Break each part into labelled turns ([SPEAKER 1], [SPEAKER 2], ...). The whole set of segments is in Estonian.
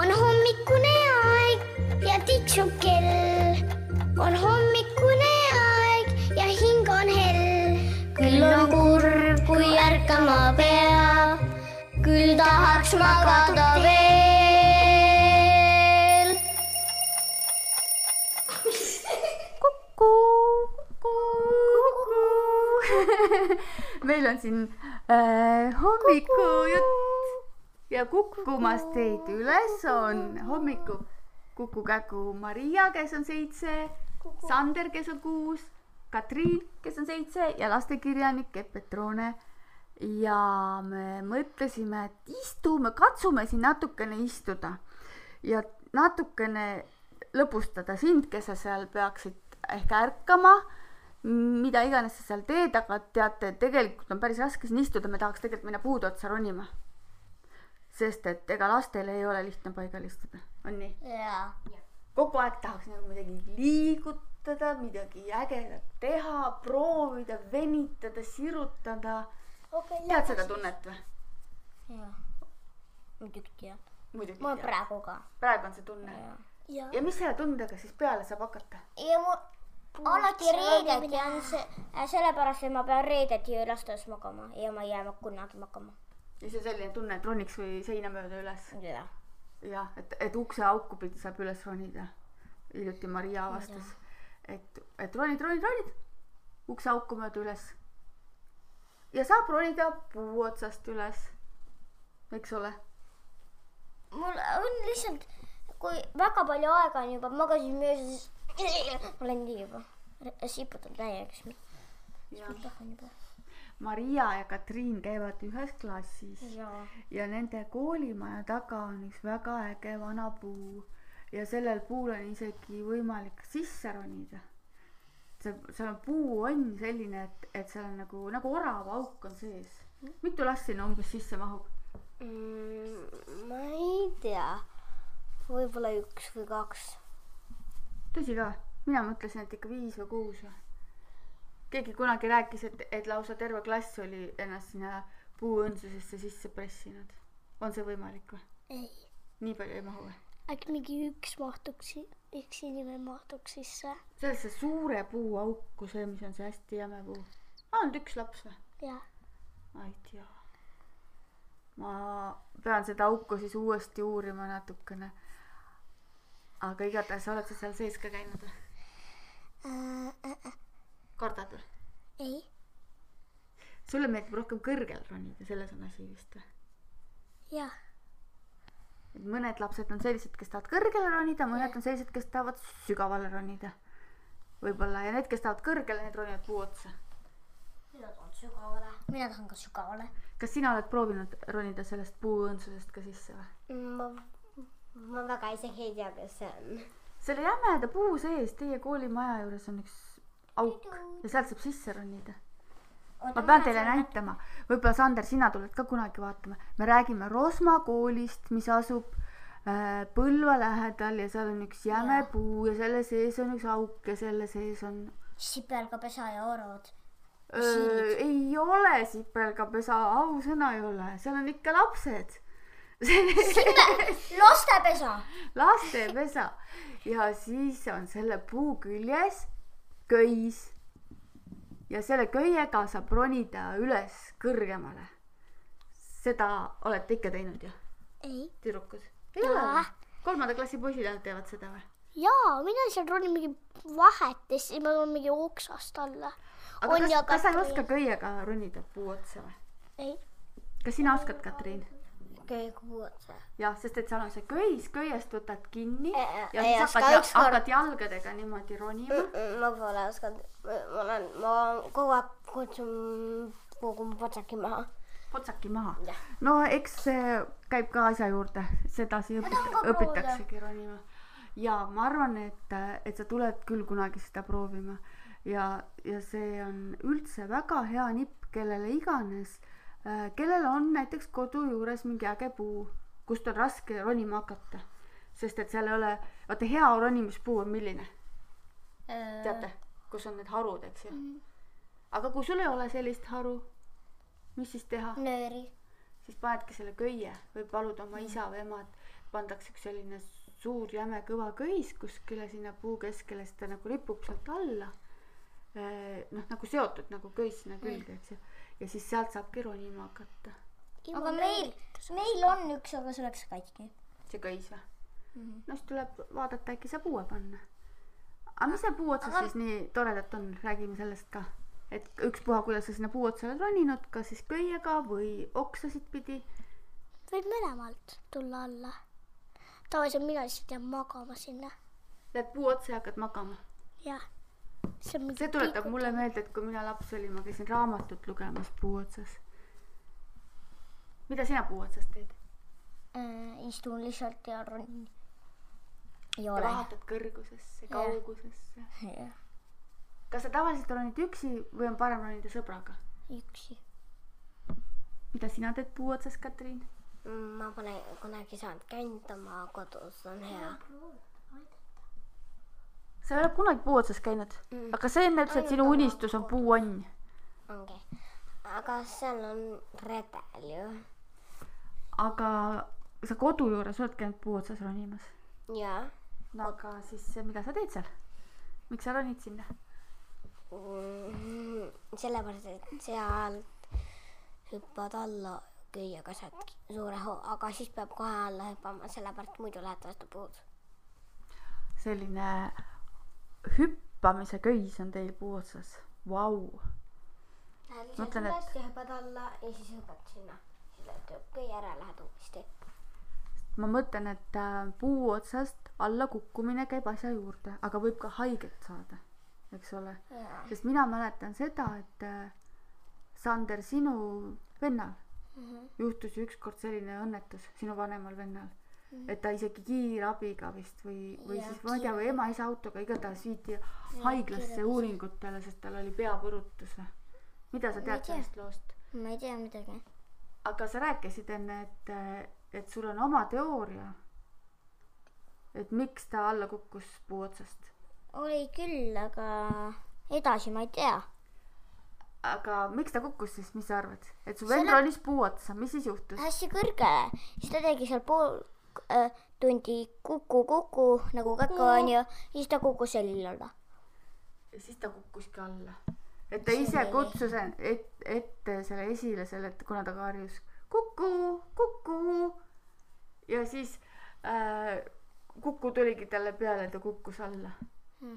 [SPEAKER 1] on hommikune aeg ja tiksub kell . on hommikune aeg ja hing on hell . küll on kurb , kui ärkama peab , küll tahaks magada veel .
[SPEAKER 2] meil on siin äh, hommikujutt ja kukkumas teid üles on hommiku Kuku-Käku Maria , kes on seitse , Sander , kes on kuus , Katriin , kes on seitse ja lastekirjanik Epp Petrone . ja me mõtlesime , et istume , katsume siin natukene istuda ja natukene lõbustada sind , kes sa seal peaksid ehk ärkama , mida iganes sa seal teed , aga teate , tegelikult on päris raske siin istuda , me tahaks tegelikult minna puude otsa ronima . sest et ega lastel ei ole lihtne paigal istuda , on nii ?
[SPEAKER 1] jaa ,
[SPEAKER 2] kogu aeg tahaks nagu midagi liigutada , midagi ägedat teha , proovida , venitada , sirutada .
[SPEAKER 1] okei
[SPEAKER 2] tead seda tunnet või ?
[SPEAKER 1] muidugi jah ,
[SPEAKER 2] muidugi
[SPEAKER 1] mul
[SPEAKER 2] tead.
[SPEAKER 1] praegu ka .
[SPEAKER 2] praegu on see tunne .
[SPEAKER 1] ja
[SPEAKER 2] ja mis selle tundega siis peale saab hakata ?
[SPEAKER 1] ja mul alati reedeti on see ,
[SPEAKER 3] äh, sellepärast , et ma pean reedeti lasteaias magama ja ma ei jää ma- kunagi magama .
[SPEAKER 2] ja see on selline tunne , et roniks või seina mööda üles .
[SPEAKER 3] jah .
[SPEAKER 2] jah , et , et ukse auku pidi saab üles ronida . hiljuti Maria avastas , et , et ronid , ronid , ronid ukse auku mööda üles . ja saab ronida puu otsast üles . eks ole ,
[SPEAKER 3] mul on lihtsalt , kui väga palju aega on juba , magasin öösel , siis ma olen nii juba re- siputanud täiega , siis ma tahan juba .
[SPEAKER 2] Maria ja Katriin käivad ühes klassis
[SPEAKER 3] jaa .
[SPEAKER 2] ja nende koolimaja taga on üks väga äge vana puu ja sellel puul on isegi võimalik sisse ronida . see , seal on puu on selline , et , et seal on nagu , nagu orava auk on sees . mitu last sinna umbes sisse mahub ?
[SPEAKER 3] ma ei tea , võib-olla üks või kaks .
[SPEAKER 2] tõsi ka , mina mõtlesin , et ikka viis või kuus või . keegi kunagi rääkis , et , et lausa terve klass oli ennast sinna puuõndsusesse sisse pressinud . on see võimalik või ?
[SPEAKER 3] ei ,
[SPEAKER 2] nii palju ei mahu või ?
[SPEAKER 3] äkki mingi üks mahtuks , üks inimene mahtuks sisse .
[SPEAKER 2] sellesse suure puu auku , see , mis on see hästi jäme puu . ainult üks laps või ?
[SPEAKER 3] jah .
[SPEAKER 2] ma ei tea . ma pean seda auku siis uuesti uurima natukene . aga igatahes oled sa seal sees ka käinud või ? kardad või ?
[SPEAKER 3] ei .
[SPEAKER 2] sulle meeldib rohkem kõrgel ronida , selles on asi vist või ?
[SPEAKER 3] jah .
[SPEAKER 2] et mõned lapsed on sellised , kes tahavad kõrgele ronida , mõned on sellised , kes tahavad sügavale ronida . võib-olla ja need , kes tahavad kõrgele , need ronivad puu otsa .
[SPEAKER 3] mina tahan sügavale . mina tahan ka sügavale .
[SPEAKER 2] kas sina oled proovinud ronida sellest puuõõnsusest ka sisse või ?
[SPEAKER 3] ma , ma väga isegi ei tea , kes see on .
[SPEAKER 2] selle jämeda puu sees teie koolimaja juures on üks auk ja sealt saab sisse ronida . ma pean teile näitama , võib-olla Sander , sina tuled ka kunagi vaatama , me räägime Rosma koolist , mis asub äh, Põlva lähedal ja seal on üks jäme ja. puu ja selle sees on üks auk ja selle sees on
[SPEAKER 3] sipelgapesa ja oravad .
[SPEAKER 2] öö, ei ole sipelgapesa , ausõna ei ole , seal on ikka lapsed
[SPEAKER 3] lastepesa .
[SPEAKER 2] lastepesa ja siis on selle puu küljes köis . ja selle köiega saab ronida üles kõrgemale . seda olete ikka teinud ju ,
[SPEAKER 3] ei .
[SPEAKER 2] tüdrukud ? ei ole
[SPEAKER 3] Jaa.
[SPEAKER 2] või ? kolmanda klassi poisid ainult teevad seda või ?
[SPEAKER 3] jaa , mina seal olin mingi vahetes , siis ma tulin mingi oksast alla .
[SPEAKER 2] aga
[SPEAKER 3] On
[SPEAKER 2] on
[SPEAKER 3] ja
[SPEAKER 2] kas , kas sa ei
[SPEAKER 3] Katrin.
[SPEAKER 2] oska köiega ronida puu otsa või ?
[SPEAKER 3] ei .
[SPEAKER 2] kas sina oskad , Katriin ?
[SPEAKER 3] okei , kuhu on see ?
[SPEAKER 2] jah , sest et seal on see köis , köiest võtad kinni
[SPEAKER 3] Ei-
[SPEAKER 2] ja
[SPEAKER 3] ei
[SPEAKER 2] siis
[SPEAKER 3] oska
[SPEAKER 2] hakkad ,
[SPEAKER 3] ükskord.
[SPEAKER 2] hakkad jalgadega niimoodi ronima .
[SPEAKER 3] ma pole osanud , ma olen , ma kogu aeg kutsun kogu mu patsaki maha .
[SPEAKER 2] potsaki maha
[SPEAKER 3] Jah. .
[SPEAKER 2] no eks see käib ka asja juurde , sedasi
[SPEAKER 3] tahan ka
[SPEAKER 2] õpita- ,
[SPEAKER 3] proovida.
[SPEAKER 2] õpitaksegi ronima . ja ma arvan , et , et sa tuled küll kunagi seda proovima ja , ja see on üldse väga hea nipp kellele iganes , kellel on näiteks kodu juures mingi äge puu , kust on raske ronima hakata . sest et seal ei ole , vaata hea ronimispuu on milline ?
[SPEAKER 3] Äh,
[SPEAKER 2] teate , kus on need harud , eks ju .
[SPEAKER 3] Mhm.
[SPEAKER 2] aga kui sul ei ole sellist haru , mis siis teha ?
[SPEAKER 3] nööri .
[SPEAKER 2] siis panedki selle köie või palud oma isa või ema , et pandakse üks selline suur jäme kõva köis kuskile sinna puu keskele , siis ta nagu ripub sealt alla . noh , nagu seotud nagu köis sinna külge , eks ju . ja siis sealt saabki ronima hakata .
[SPEAKER 3] aga meil , meil on üks , aga see läks katki .
[SPEAKER 2] see köis või mm. ? no siis tuleb vaadata , äkki saab uue panna . aga mis seal puu otsas siis nii toredat on , räägime sellest ka . et ükspuha , kuidas sa sinna puu otsa oled roninud , kas siis köiega või oksasid pidi .
[SPEAKER 3] võib mõlemalt tulla alla . tavaliselt mina lihtsalt jään magama sinna .
[SPEAKER 2] Lähed puu otsa ja hakkad magama .
[SPEAKER 3] jah . see on mingi
[SPEAKER 2] see tuletab mulle meelde , et kui mina laps olin , ma käisin raamatut lugemas puu otsas . mida sina puu otsas teed ?
[SPEAKER 3] äh, istun lihtsalt ja ronin . ei ole .
[SPEAKER 2] vahetad kõrgusesse , kaugusesse .
[SPEAKER 3] jah ,
[SPEAKER 2] kas sa tavaliselt ronid üksi või on parem ronida sõbraga ?
[SPEAKER 3] üksi .
[SPEAKER 2] mida sina teed puu otsas , Katrin ?
[SPEAKER 3] Mm,
[SPEAKER 4] ma pole kunagi saanud kändama kodus , on hea .
[SPEAKER 2] sa ei ole kunagi puu otsas käinud mm. , aga see on täpselt sinu unistus on puuonn .
[SPEAKER 4] ongi . aga seal on redel ju .
[SPEAKER 2] aga sa kodu juures oled käinud puu otsas ronimas ?
[SPEAKER 4] jaa .
[SPEAKER 2] no aga siis mida sa teed seal ? miks sa ronid sinna ?
[SPEAKER 3] mm,
[SPEAKER 4] sellepärast , et sealt hüppad alla köiega sealt suure hoo , aga siis peab kohe alla hüppama , sellepärast muidu lähed vastu puud .
[SPEAKER 2] selline hüppamise köis on teil puu otsas , vau .
[SPEAKER 4] Lähed
[SPEAKER 2] lihtsalt Mõtlen, et- üles
[SPEAKER 4] ja hüppad alla ja siis hüppad sinna . siis lööd köie ära ja lähed uuesti .
[SPEAKER 2] ma mõtlen , et äh, puu otsast alla kukkumine käib asja juurde , aga võib ka haiget saada , eks ole . sest mina mäletan seda , et äh, Sander , sinu vennal juhtus ju ükskord selline õnnetus , sinu vanemal vennal , et ta isegi kiirabiga vist või , või siis ma ei tea , või ema-isa autoga igatahes viidi haiglasse uuringutele , sest tal oli peapõrutus või ? mida sa tead sellest loost ?
[SPEAKER 3] ma ei tea midagi .
[SPEAKER 2] aga sa rääkisid enne , et , et sul on oma teooria . et miks ta alla kukkus puu otsast .
[SPEAKER 3] oli küll , aga edasi ma ei tea .
[SPEAKER 2] aga miks ta kukkus siis , mis sa arvad , et su vend ronis puu otsa , mis siis juhtus ?
[SPEAKER 3] hästi kõrgele , siis ta tegi seal pool äh, tundi kuku-kuku nagu käku onju , siis ta kukkus sellile alla .
[SPEAKER 2] siis ta kukkuski alla . et ta ise kutsus en- et, ette selle esile selle , et kuna ta ka harjus kuku , kuku ja siis äh, kuku tuligi talle peale , ta kukkus alla hmm. .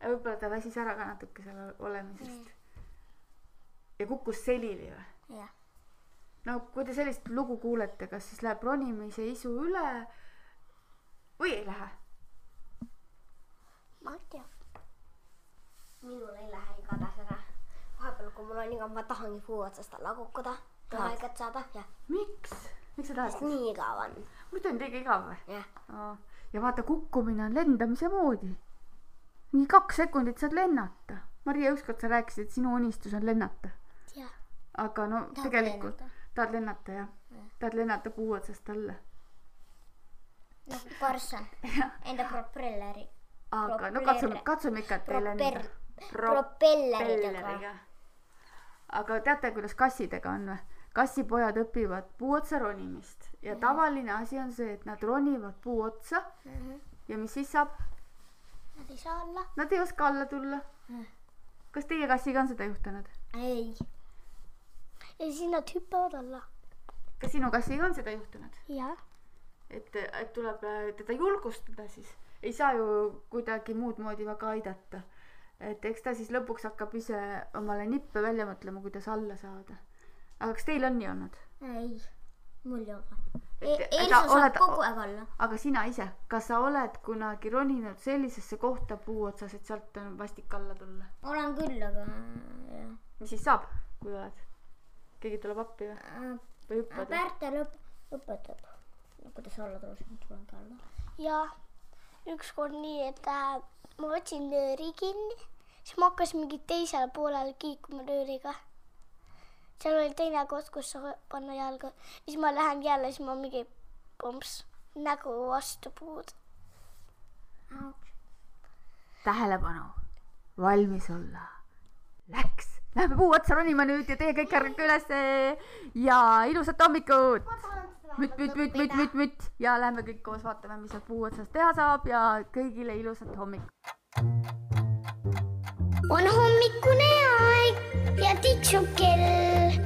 [SPEAKER 2] ja võib-olla ta väsis ära ka natuke seal olemisest hmm. . ja kukkus selili või ?
[SPEAKER 3] jah ,
[SPEAKER 2] no kui te sellist lugu kuulete , kas siis läheb ronimise isu üle või ei lähe ?
[SPEAKER 3] ma ei tea .
[SPEAKER 4] minul ei lähe igatahes ära . vahepeal , kui mul on igav , ma tahangi puu otsast alla kukkuda , haiget saada ja
[SPEAKER 2] miks ? miks sa tahad ?
[SPEAKER 4] nii igav on .
[SPEAKER 2] muidu on liiga igav või ?
[SPEAKER 4] jah ,
[SPEAKER 2] Aa, ja vaata , kukkumine on lendamise moodi . nii kaks sekundit saad lennata . Maria , ükskord sa rääkisid , et sinu unistus on lennata .
[SPEAKER 3] jah ,
[SPEAKER 2] aga no tahad tegelikult tahad lennata jah ja. , tahad lennata puu otsast alla .
[SPEAKER 3] nagu parsan enda propelleri ,
[SPEAKER 2] aga no
[SPEAKER 3] Propeller-
[SPEAKER 2] katsume , katsume ikka , et ei lenda
[SPEAKER 3] proper- . propelleridega .
[SPEAKER 2] propelleriga . aga teate , kuidas kassidega on või ? kassipojad õpivad puu otsa ronimist ja tavaline asi on see , et nad ronivad puu otsa mm -hmm. ja mis siis saab ?
[SPEAKER 3] Nad ei saa olla .
[SPEAKER 2] Nad ei oska alla tulla . kas teie kassiga on seda juhtunud ?
[SPEAKER 3] ei . ja siis nad hüppavad alla .
[SPEAKER 2] kas sinu kassiga on seda juhtunud ?
[SPEAKER 3] jah ,
[SPEAKER 2] et , et tuleb äh, teda julgustada siis , ei saa ju kuidagi muud moodi väga aidata . et eks ta siis lõpuks hakkab ise omale nippe välja mõtlema , kuidas alla saada . aga kas teil on nii olnud ?
[SPEAKER 3] ei , mul ei ole .
[SPEAKER 2] Et- et
[SPEAKER 3] Elsa
[SPEAKER 2] oled-
[SPEAKER 3] saab kogu aeg olla .
[SPEAKER 2] aga sina ise , kas sa oled kunagi roninud sellisesse kohta puu otsas , et sealt on vastik alla tulla ?
[SPEAKER 3] olen küll , aga jah.
[SPEAKER 2] mis siis saab , kui oled ? keegi tuleb appi või ,
[SPEAKER 3] Äh,
[SPEAKER 2] või hüppad ?
[SPEAKER 3] Pärtel õp- , õpetab , kuidas alla tuleks , ma tulen ka alla . ja ükskord nii , et äh, ma võtsin nööri kinni , siis ma hakkasin mingi teisel poolel kiikuma nööriga . seal oli teine koht , kus sa panna jalga , siis ma lähen jälle , siis ma mingi pomps nägu vastu puud .
[SPEAKER 2] tähelepanu , valmis olla . Läks Lähme puu otsa ronima nüüd ja teie kõik ärgake ülesse ja ilusat hommikut . mütt , mütt , mütt , mütt , mütt , mütt ja lähme kõik koos vaatame , mis seal puu otsas teha saab ja kõigile ilusat hommikut .
[SPEAKER 1] on hommikune aeg ja tiksub kell .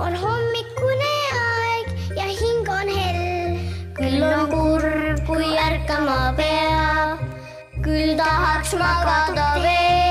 [SPEAKER 1] on hommikune aeg ja hing on hell . küll on kurb , kui ärkama pea , küll tahaks magada veel .